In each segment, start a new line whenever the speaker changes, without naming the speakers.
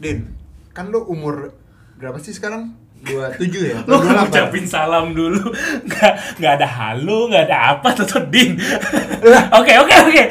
Din, kan lu umur berapa sih sekarang? 27 ya?
Lu
Atau 28?
ngucapin salam dulu Nggak, nggak ada halo, nggak ada apa, tetep din Oke, oke, oke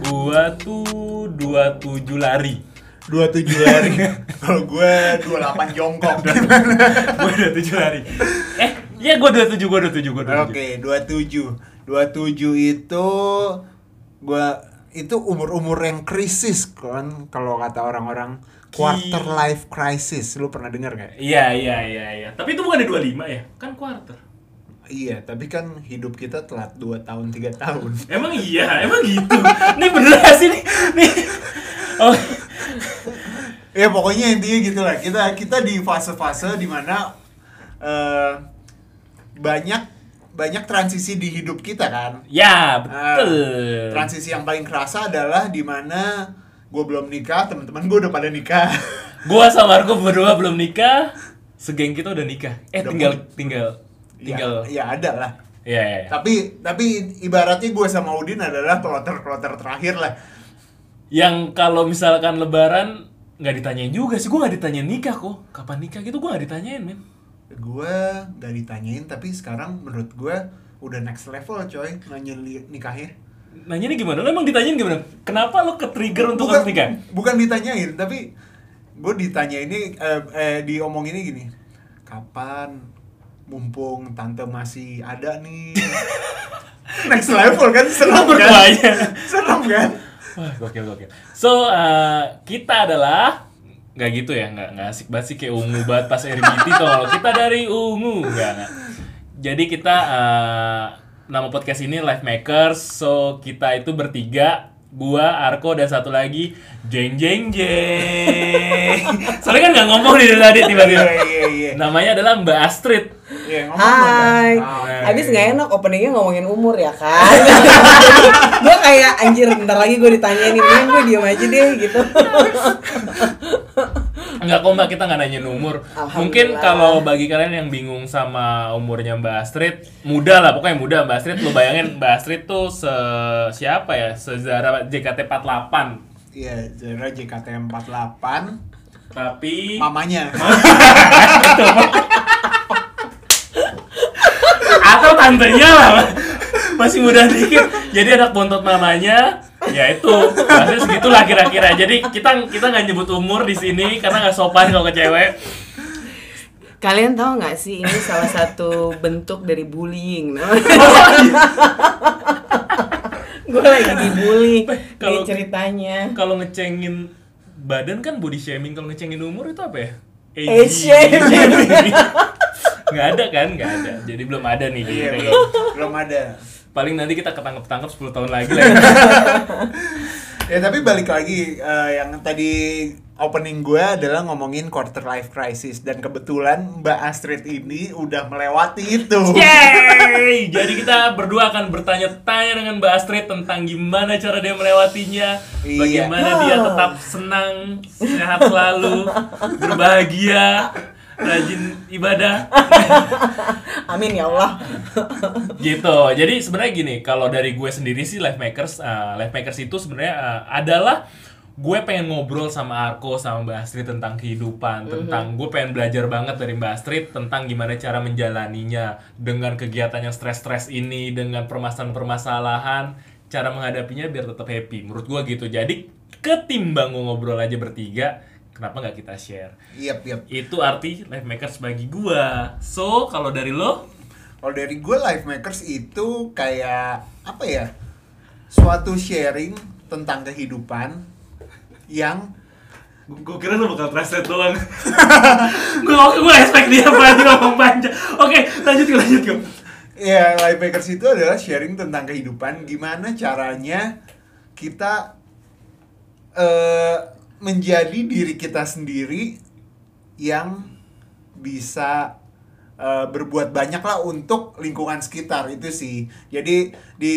Gua tuh 27 lari
27 lari. Kalau gue 28 jongkok.
Gua 27 lari Eh, iya gua 27, gua 27, gua 27
Oke, 27. 27 itu gua itu umur-umur yang krisis kan kalau kata orang-orang quarter life crisis. Lu pernah dengar gak?
Iya, iya, iya, iya Tapi itu bukan 25 ya? Kan quarter
Iya, tapi kan hidup kita telat 2 tahun, 3 tahun.
Emang iya, emang gitu Nih bener gak sih nih? nih. Oh,
ya pokoknya intinya gitulah kita kita di fase-fase dimana eh banyak banyak transisi di hidup kita kan Ah,
ya, betul
transisi yang paling kerasa adalah dimana gue belum nikah teman-teman gue udah pada nikah
Gua sama Marco berdua belum nikah, segeng kita udah nikah. Eh
Udah
tinggal
pun.
tinggal tinggal.
ya, ya ada lah
Iya iya. iya.
tapi tapi ibaratnya gue sama Udin adalah kloter kloter terakhir lah
Yang kalau misalkan lebaran nggak ditanyain juga sih, gua nggak ditanyain nikah kok. Kapan nikah gitu gua nggak ditanyain, men.
gue gak ditanyain tapi sekarang menurut gue udah next level coy nanya li- nikahnya
Nanya nih gimana? Lo emang ditanyain gimana? Kenapa lo ke trigger untuk harus nikah?
bukan ditanyain tapi gue ditanya ini eh, eh, diomonginnya gini kapan mumpung tante masih ada nih next level kan serem kan
Bertanya.
serem kan
Wah, gokil gokil. So, eh, kita adalah nggak gitu ya, nggak nggak asik banget sih kayak ungu banget pas RBT kalau kita dari ungu, nggak nggak. Jadi kita eh, nama podcast ini Life Makers, so kita itu bertiga, gua, Arko dan satu lagi jeng jeng jeng. Soalnya kan nggak ngomong dari tadi tiba-tiba.
Iya, iya, iya.
Namanya adalah Mbak Astrid.
Iya, ngomong
Oh,
Ah,
Hai.
dong, Mbak.
Hai.
Abis nggak enak openingnya ngomongin umur ya kan? gue kayak anjir bentar lagi gue ditanyain ini gue diem aja deh gitu.
Enggak kok mbak, kita nggak nanyain umur Mungkin
Alhamdulillah.
kalau bagi kalian yang bingung sama umurnya Mbak Astrid Muda lah, pokoknya muda Mbak Astrid Lo bayangin Mbak Astrid tuh se... siapa ya? Sezara JKT48
Iya, Zara JKT48
Tapi...
mamanya.
Gitu. Atau tantenya lah Mbak. Masih muda dikit Jadi anak bontot mamanya ya itu Mbak Astrid segitulah kira-kira jadi kita kita nggak nyebut umur di sini karena nggak sopan kalau ke cewek
Kalian tahu nggak sih ini salah satu bentuk dari bullying? nah. gue lagi dibully
Kalau-
nih ceritanya.
kalau ngecengin badan kan body shaming kalau ngecengin umur itu apa ya
Age shaming.
nggak ada kan nggak ada jadi belum ada nih
Iya,
kayaknya.
belum, belum ada.
paling nanti kita ketangkep tangkep 10 tahun lagi lah
Ya, tapi balik lagi eh, yang tadi opening gue adalah ngomongin quarter life crisis dan kebetulan Mbak Astrid ini udah melewati itu.
Iya. Yeay! jadi kita berdua akan bertanya-tanya dengan Mbak Astrid tentang gimana cara dia melewatinya
Iya.
bagaimana dia tetap senang sehat selalu berbahagia rajin ibadah
Amin ya Allah.
gitu jadi sebenarnya gini kalau dari gue sendiri sih life makers eh, life makers itu sebenarnya eh, adalah gue pengen ngobrol sama Arko sama Mbak Astrid tentang kehidupan tentang gue pengen belajar banget dari Mbak Astrid tentang gimana cara menjalaninya dengan kegiatan yang stres-stres ini dengan permasalahan-permasalahan cara menghadapinya biar tetap happy menurut gue gitu jadi ketimbang gue ngobrol aja bertiga kenapa nggak kita share
Yep, yep.
itu arti life makers bagi gue so kalau dari lo
Kalau dari gue life makers itu kayak apa ya? Suatu sharing tentang kehidupan yang
Gue kira lu bakal translate doang Gue gue expect dia apa ngomong panjang Oke lanjut gue lanjut gue
ya life hackers itu adalah sharing tentang kehidupan gimana caranya kita eh, menjadi diri kita sendiri yang bisa eh, berbuat banyak lah untuk lingkungan sekitar itu sih jadi di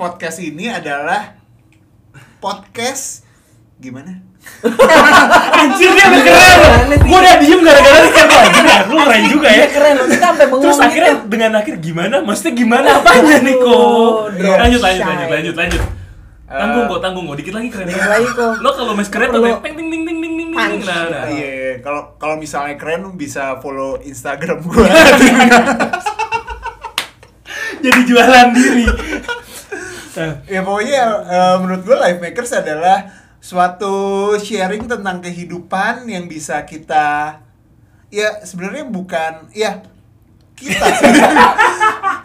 podcast ini adalah podcast gimana
Anjir dia udah
keren loh.
Gue udah diem gara-gara dia keren lagi dah. Lu keren juga ya.
Iya, keren loh. Kita sampai bengong
Terus
gitu.
akhirnya dengan akhir gimana? Maksudnya gimana apanya nih Ko?
drop
Lanjut lanjut
shy.
lanjut lanjut lanjut.
Eh,
Tanggung kok, tanggung kok, dikit lagi keren. ya.
Dikit lagi, Ko.
Lo kalau mes keren
Lo
udah
perlu
peng ting ting ting ting ting ting.
punch.
Nah, nah.
Iya, iya, iya. kalau kalau misalnya keren lu bisa follow Instagram gua.
Jadi jualan diri. Nah,
ya pokoknya eh, menurut gua life makers adalah suatu sharing tentang kehidupan yang bisa kita ya sebenarnya bukan ya kita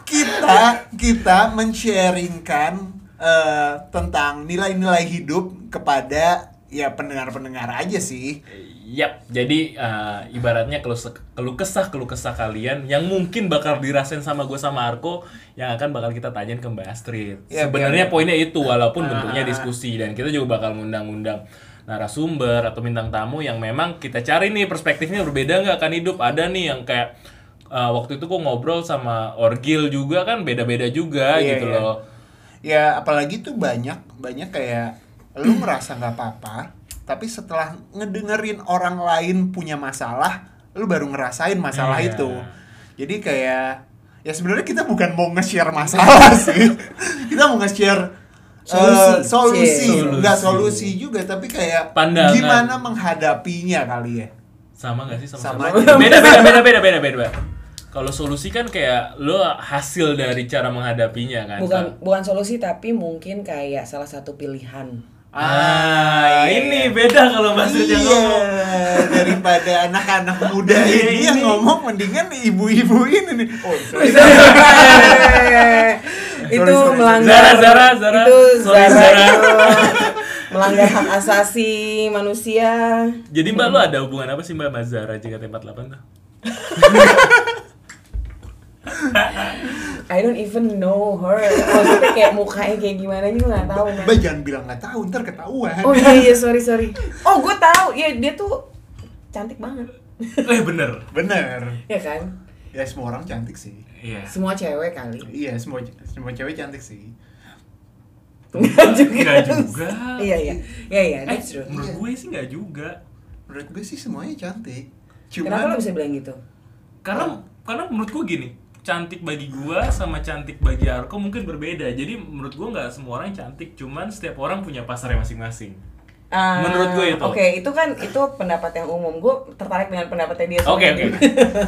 kita kita men-sharingkan eh, tentang nilai-nilai hidup kepada ya pendengar-pendengar aja sih.
Yap, jadi eh, ibaratnya kalau keluh kesah keluh kesah kalian yang mungkin bakal dirasain sama gue sama Arko yang akan bakal kita tanyain ke Mbak Astrid.
Ya,
Sebenarnya
biar-
poinnya itu
Ah.
walaupun bentuknya diskusi dan kita juga bakal ngundang-undang narasumber atau bintang tamu yang memang kita cari nih perspektifnya berbeda nggak akan hidup ada nih yang kayak eh, waktu itu gue ngobrol sama Orgil juga kan beda-beda juga
Iya,
gitu
iya.
loh.
ya apalagi tuh banyak banyak kayak lu merasa nggak apa-apa tapi setelah ngedengerin orang lain punya masalah lu baru ngerasain masalah
Iya.
itu jadi kayak ya sebenarnya kita bukan mau nge-share masalah sih kita mau nge-share
Solusi.
eh, solusi
Solusi.
nggak solusi juga tapi kayak
Pandangan.
gimana menghadapinya kali ya
sama nggak sih sama,
Sama
sama,
aja.
beda beda beda beda beda beda kalau solusi kan kayak lo hasil dari cara menghadapinya kan
bukan bukan solusi tapi mungkin kayak salah satu pilihan.
ah
iya,
ini
iya.
beda kalau
iya,
maksudnya ngomong
daripada anak-anak muda
Iya,
ini yang
ini.
ngomong mendingan ibu-ibu ini nih. Oh, sorry.
itu
sorry.
melanggar
Zara, Zara, Zara.
itu
Sorry,
Zara
Zara.
itu melanggar hak asasi manusia.
jadi mbak lo ada hubungan apa sih mbak Mazara JKT48 tuh
I don't even know her. Maksudnya kayak mukanya kayak gimana juga nggak tahu. man.
Mbak jangan bilang nggak tahu, ntar ketahuan.
Oh iya iya sorry sorry. Oh gue tahu, ya dia tuh cantik banget,
eh bener
Bener.
ya kan?
Ya semua orang cantik sih.
iya
Semua cewek kali.
Iya semua semua cewek cantik sih.
Enggak juga.
Nggak juga.
Iya iya iya iya.
eh
That's true.
menurut gue sih nggak juga
Menurut gue sih semuanya cantik.
Kenapa
Cuman
lo bisa bilang gitu? Oh.
karena karena menurut gue gini cantik bagi gua sama cantik bagi Arko mungkin berbeda jadi menurut gua nggak semua orang cantik cuman setiap orang punya pasarnya masing-masing
Ah,
Menurut gue itu.
Oke, itu kan itu pendapat yang umum. Gue tertarik dengan pendapatnya dia.
oke oke
sendiri.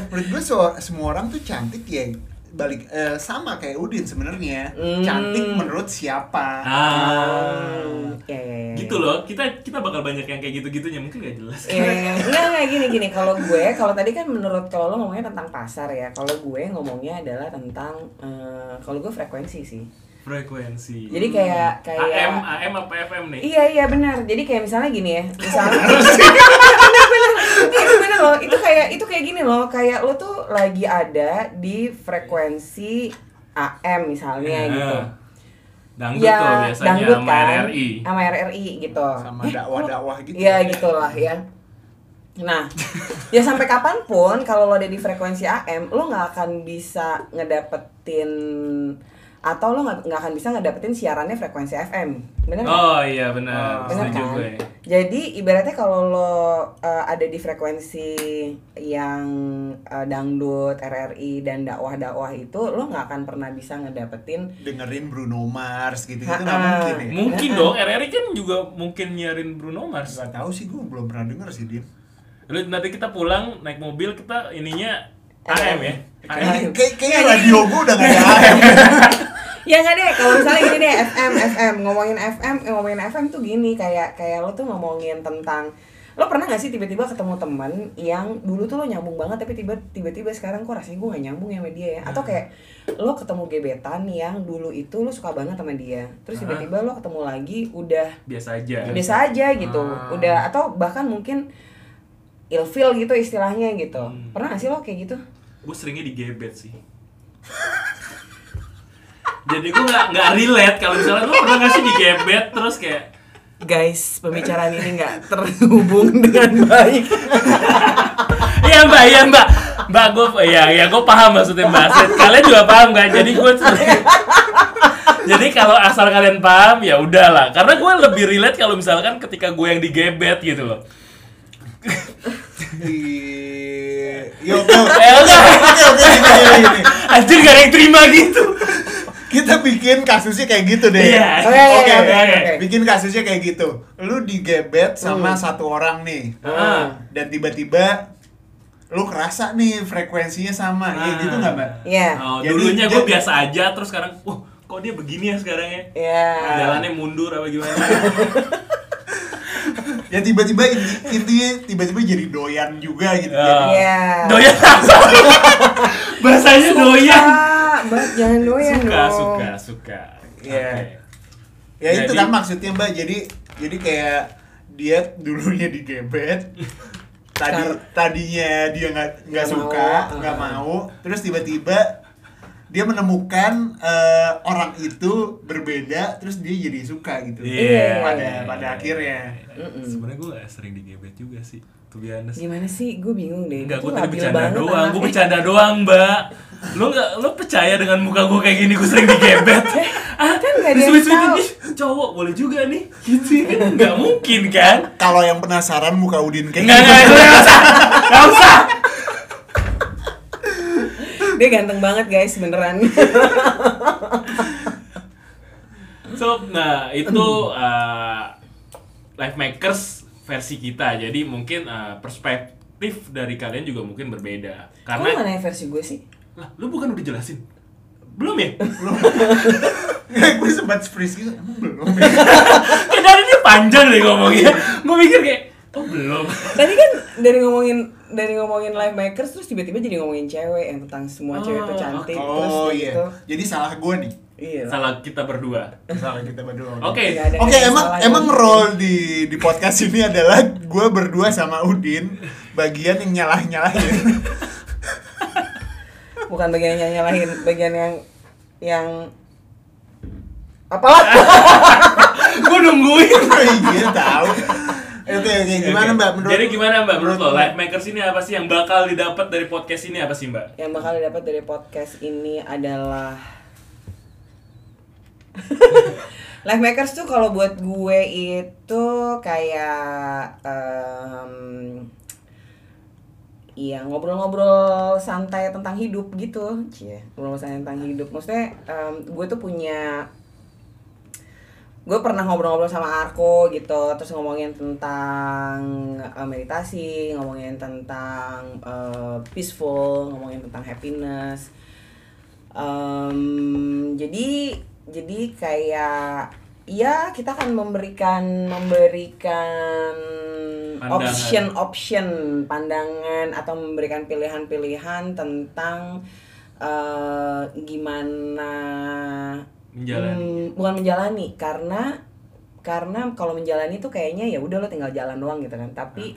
menurut gue so- semua orang tuh cantik ya balik eh, sama kayak Udin sebenarnya.
Hmm.
Cantik menurut siapa?
ah
Iya, iya, iya.
gitu loh kita kita bakal banyak yang kayak gitu gitunya mungkin gak jelas
Iya, iya, iya. Enggak, enggak gini gini. Kalau gue, kalau tadi kan menurut kalau lo ngomongnya tentang pasar ya. Kalau gue ngomongnya adalah tentang eh, kalau gue frekuensi sih.
frekuensi
Jadi kayak kayak
AM AM apa FM nih
Iya iya benar. Jadi kayak misalnya gini ya, misalnya benar benar. Iya benar loh. Itu kayak itu kayak gini loh. Kayak lo tuh lagi ada di frekuensi AM misalnya
Nah,
gitu. Ya, kan.
dangdut tuh biasanya sama RRI
sama RRI gitu.
Sama dakwah-dakwah gitu.
Iya
kan
gitulah ya. Nah, ya sampai kapanpun kalau lo ada di frekuensi AM, lo nggak akan bisa ngedapetin atau lo nggak nggak akan bisa ngedapetin siarannya frekuensi FM, bener nggak?
oh iya benar
Oh.
Bener
setuju
kan?
gue
Jadi ibaratnya kalau lo uh, ada di frekuensi yang uh, dangdut, RRI dan dakwah-dakwah itu, lo nggak akan pernah bisa ngedapetin.
Dengerin Bruno Mars gitu gitu nggak
Ha-ha.
mungkin ya.
mungkin dong RRI kan juga mungkin nyiarin Bruno Mars
Gak tahu sih gue belum pernah denger sih Din.
lu nanti kita pulang naik mobil kita ininya AM ya AM
Iya.
Ah, iya.
Kayak kayak- kayaknya radio gue udah gak ada AM.
Ya nggak deh, kalau misalnya gini deh, FM, FM ngomongin FM, eh, ngomongin FM tuh gini kayak kayak lo tuh ngomongin tentang lo pernah gak sih tiba-tiba ketemu temen yang dulu tuh lo nyambung banget tapi tiba- tiba-tiba sekarang kok rasanya gue gak nyambung ya sama dia ya atau kayak lo ketemu gebetan yang dulu itu lo suka banget sama dia
Hah?
terus tiba-tiba lo ketemu lagi udah
biasa aja
biasa aja gitu
Ah.
udah atau bahkan mungkin ilfil gitu istilahnya gitu
Hmm.
pernah gak sih lo kayak gitu
gue seringnya digebet sih
jadi gue nggak nggak relate kalau misalnya lu pernah nggak sih digebet terus kayak
Guys, pembicaraan ini nggak terhubung dengan baik.
Iya mbak, iya mbak Mbak, gue ya, ya, gue paham maksudnya mbak Astrid. Kalian juga paham kan? Jadi gue Jadi kalau asal kalian paham ya udahlah Karena gue lebih relate kalau misalkan ketika gue yang digebet gitu loh
di yo yo
Eh, enggak.
Oke, oke, gini, gini, gini.
Anjir gak ada yang terima gitu
kita bikin kasusnya kayak gitu deh
Iya.
Oke, oke,
Oke,
oke, oke.
bikin kasusnya kayak gitu lu digebet sama satu orang nih
ah,
dan tiba-tiba lu kerasa nih frekuensinya sama ya
ah.
gitu nggak mbak
Iya.
Oh,
Jadi-
dulunya gue
jadi-
biasa aja terus sekarang wah kok dia begini ya sekarang ya
Ya.
jalannya mundur apa gimana
ya tiba-tiba inti- intinya tiba-tiba jadi doyan juga gitu
Ya.
Iya.
Doyan apa?
bahasanya doyan
Ah, Mbak, jangan doyan
Suka,
dong.
suka, suka
Iya.
Oke.
ya itu
Jadi-
kan maksudnya mbak jadi jadi kayak dia dulunya digebet tadi
Kar-
tadinya dia nggak nggak
Nggak
suka
mau,
nggak
ah.
mau terus tiba-tiba dia menemukan eh, orang itu berbeda terus dia jadi suka gitu
Iya.
pada pada akhirnya
Mm-mm.
sebenarnya gue sering digebet juga sih tuh biasa
Gimana sih? Gue bingung deh.
Enggak,
Itu
gue tadi
labil
bercanda
banget
doang, gue
anaknya.
bercanda doang, Mbak. Lu enggak lu percaya dengan muka gue kayak gini gue sering digebet? ah,
Kan nggak ada yang
disuit-suitin,
tahu.
"Ih, cowok boleh juga nih. Gitu kan enggak mungkin kan?
kalau yang penasaran muka Udin kayak
Enggak, enggak,
gitu.
enggak usah. Enggak usah.
Dia ganteng banget guys, beneran.
So, nah itu eh, life makers versi kita. Jadi mungkin eh, perspektif dari kalian juga mungkin berbeda.
Kok
Karena
mana versi gue sih?
lah, lu bukan udah jelasin? Belum ya?
gue sempat freeze gitu emang belum ya?
Kayak dari dia panjang deh ngomongnya. Gue mikir kayak, oh belum.
Tadi kan dari ngomongin dari ngomongin live makers terus tiba-tiba jadi ngomongin cewek yang tentang semua cewek itu
Oh,
cantik terus
oh
kayak
iya
gitu.
jadi salah gue nih
Iya.
Salah kita berdua.
salah kita berdua
Oke.
Nggak ada
Oke,
yang
emang
salah
emang
dong.
role di di podcast ini adalah gue berdua sama Udin bagian yang nyalah nyalahin.
bukan bagian yang nyalahin, bagian yang yang apalah
Gue nungguin.
Iya tahu. Oke oke gimana
Oke.
Mbak? Menurut
Jadi gimana Mbak menurut lo life makers ini apa sih yang bakal didapat dari podcast ini apa sih Mbak?
yang bakal didapat dari podcast ini adalah Life Makers tuh kalau buat gue itu kayak em, Iya ngobrol-ngobrol santai tentang hidup gitu, cie ngobrol santai tentang hidup. Maksudnya em, gue tuh punya gue pernah ngobrol-ngobrol sama Arko gitu terus ngomongin tentang eh, meditasi ngomongin tentang eh, peaceful ngomongin tentang happiness Em, jadi jadi kayak ya kita akan memberikan memberikan
Pandangan.
option option pandangan atau memberikan pilihan-pilihan tentang eh, gimana
Menjalani.
Hmm, bukan menjalani karena karena kalau menjalani tuh kayaknya ya udah lo tinggal jalan doang gitu kan. Tapi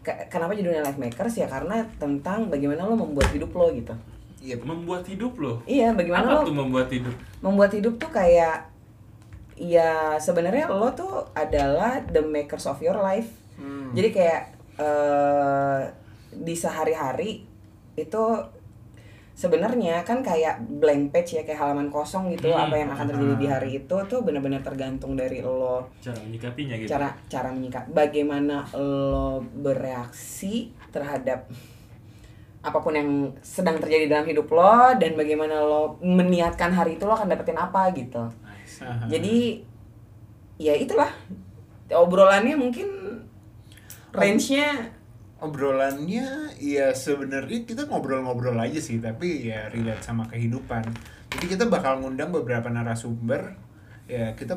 ke- kenapa judulnya life makers ya karena tentang bagaimana lo membuat hidup lo gitu.
Iya.
Membuat hidup lo.
Iya, bagaimana
Apa
lo
tuh membuat hidup?
membuat hidup tuh kayak ya sebenarnya lo tuh adalah the makers of your life.
Hmm.
Jadi kayak eh di sehari-hari itu sebenarnya kan kayak blank page ya kayak halaman kosong gitu
Hmm.
apa yang akan terjadi di hari itu tuh benar-benar tergantung dari lo
Cara menyikapinya gitu.
cara cara menyikap bagaimana lo bereaksi terhadap apapun yang sedang terjadi dalam hidup lo dan bagaimana lo meniatkan hari itu lo akan dapetin apa gitu
Nice.
jadi ya itulah obrolannya mungkin range-nya
Obrolannya ya sebenarnya kita ngobrol-ngobrol aja sih tapi ya relate sama kehidupan. Jadi kita bakal ngundang beberapa narasumber ya kita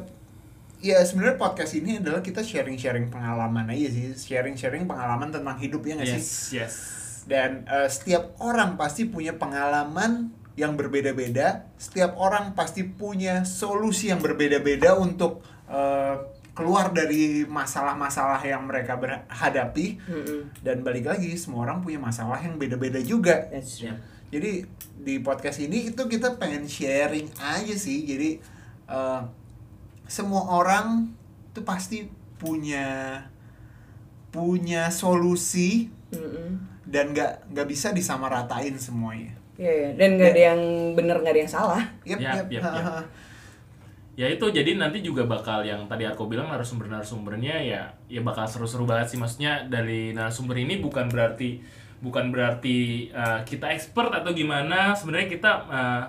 ya sebenarnya podcast ini adalah kita sharing-sharing pengalaman aja sih sharing-sharing pengalaman tentang hidup ya nggak sih?
Yes, yes.
dan eh, setiap orang pasti punya pengalaman yang berbeda-beda setiap orang pasti punya solusi yang berbeda-beda untuk eh, keluar dari masalah-masalah yang mereka ber- hadapi
Mm-mm.
dan balik lagi semua orang punya masalah yang beda-beda juga
ya.
That's true.
Jadi di podcast ini itu kita pengen sharing aja sih. Jadi eh, semua orang tuh pasti punya punya solusi
Mm-mm.
dan nggak nggak bisa disamaratain semuanya.
Iya, iya. dan nggak ada yang bener nggak ada yang salah
Yep,
Yap,
yep.
yap, yap. ya itu jadi nanti juga bakal yang tadi Arko bilang narasumber narasumbernya ya ya bakal seru-seru banget sih maksudnya dari narasumber ini bukan berarti bukan berarti uh, kita expert atau gimana sebenarnya kita uh,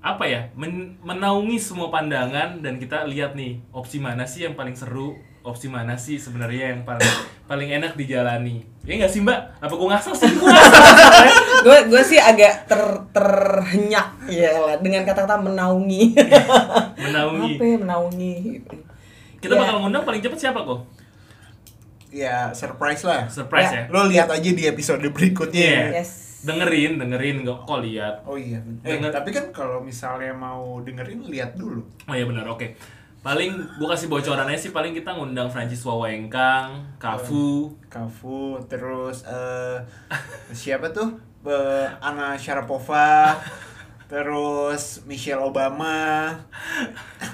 apa ya men- menaungi semua pandangan dan kita lihat nih opsi mana sih yang paling seru opsi mana sih sebenarnya yang paling paling enak dijalani ya nggak sih mbak apa gua ngasal sih Gua ngasal.
gue gue sih agak ter terhenyak ya elah, dengan kata-kata menaungi
Iya. menaungi
apa ya menaungi gitu.
kita bakal ngundang paling cepat siapa kok
Ya surprise lah.
surprise ya,
Lo lihat aja di episode berikutnya.
Iya.
yes
dengerin dengerin nggak kok lihat
Oh iya. Eh,
Dengar.
tapi kan kalau misalnya mau dengerin lihat dulu.
Oh iya benar, oke. Paling gua kasih bocorannya sih paling kita ngundang Francis Wawengkang, Kafu,
Kafu, terus eh siapa tuh? Eh, Anna Sharapova, terus Michelle Obama.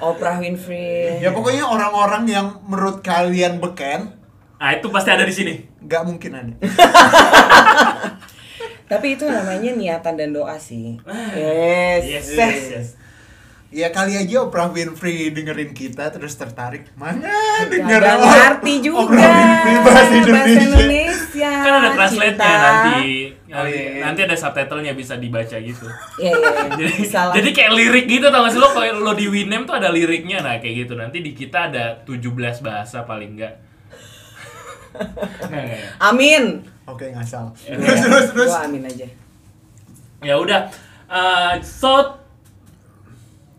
Oprah Winfrey
Ya pokoknya orang-orang yang menurut kalian beken
ah itu pasti ada di sini.
nggak mungkin ada.
tapi itu namanya niatan dan doa sih
Ah.
yes
Yes,
Eh.
yes, yes.
Ya kali aja Oprah Winfrey dengerin kita terus tertarik. Mana denger
Gak
Oprah-
ngerti juga
Oprah Winfrey bahasa Indonesia.
Indonesia
Kan ada translate-nya
cinta.
nanti.
Oh, iya, iya.
Nanti ada subtitlenya bisa dibaca gitu.
Iya iya iya.
Jadi,
Salah.
jadi kayak lirik gitu tau gak sih lo kalau lo di Winem tuh ada liriknya nah kayak gitu. Nanti di kita ada 17 bahasa paling enggak. Nggak, nggak, ya.
Amin.
Oke, ngasal.
Iya.
Terus terus terus.
Gua amin aja.
ya udah eh so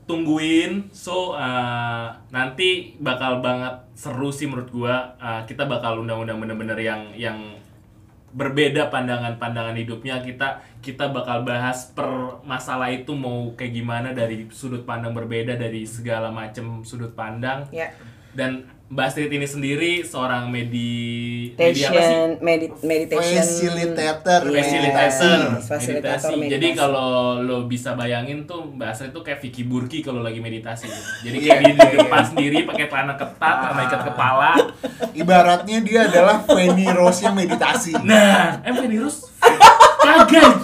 tungguin so eh, nanti bakal banget seru sih menurut gua Eh, kita bakal undang-undang bener-bener yang yang berbeda pandangan-pandangan hidupnya kita kita bakal bahas per masalah itu mau kayak gimana dari sudut pandang berbeda dari segala macam sudut pandang
Ya.
dan Mbak Astrid ini sendiri seorang medi media apa sih?
Meditation, medi meditation.
Facilitator.
Iya,
Fasilitator,
Fasilitator
meditasi. Jadi
meditasi.
kalau lo bisa bayangin tuh bahasa itu kayak Vicky Burki kalau lagi meditasi. gitu. Jadi
Iya,
kayak dia
iya,
di depan
iya.
sendiri pakai celana ketat sama ikat
Ah.
kepala.
Ibaratnya dia adalah Fanny Rose yang meditasi.
Nah, eh Venirus kagak.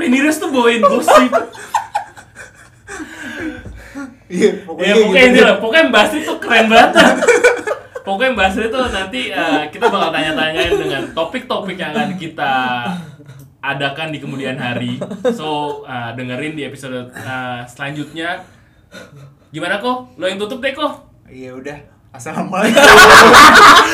Venirus tuh bawain gosip.
Iya,
Ya
pokoknya,
pokoknya
gitu.
ini lah, pokoknya Mbak Astrid tuh keren banget. pokoknya Mbak Astrid tuh nanti eh, kita bakal tanya-tanyain dengan topik-topik yang akan kita adakan di kemudian hari. So, eh, dengerin di episode eh, selanjutnya. Gimana kok? Lo yang tutup deh kok.
Iya udah. Assalamualaikum.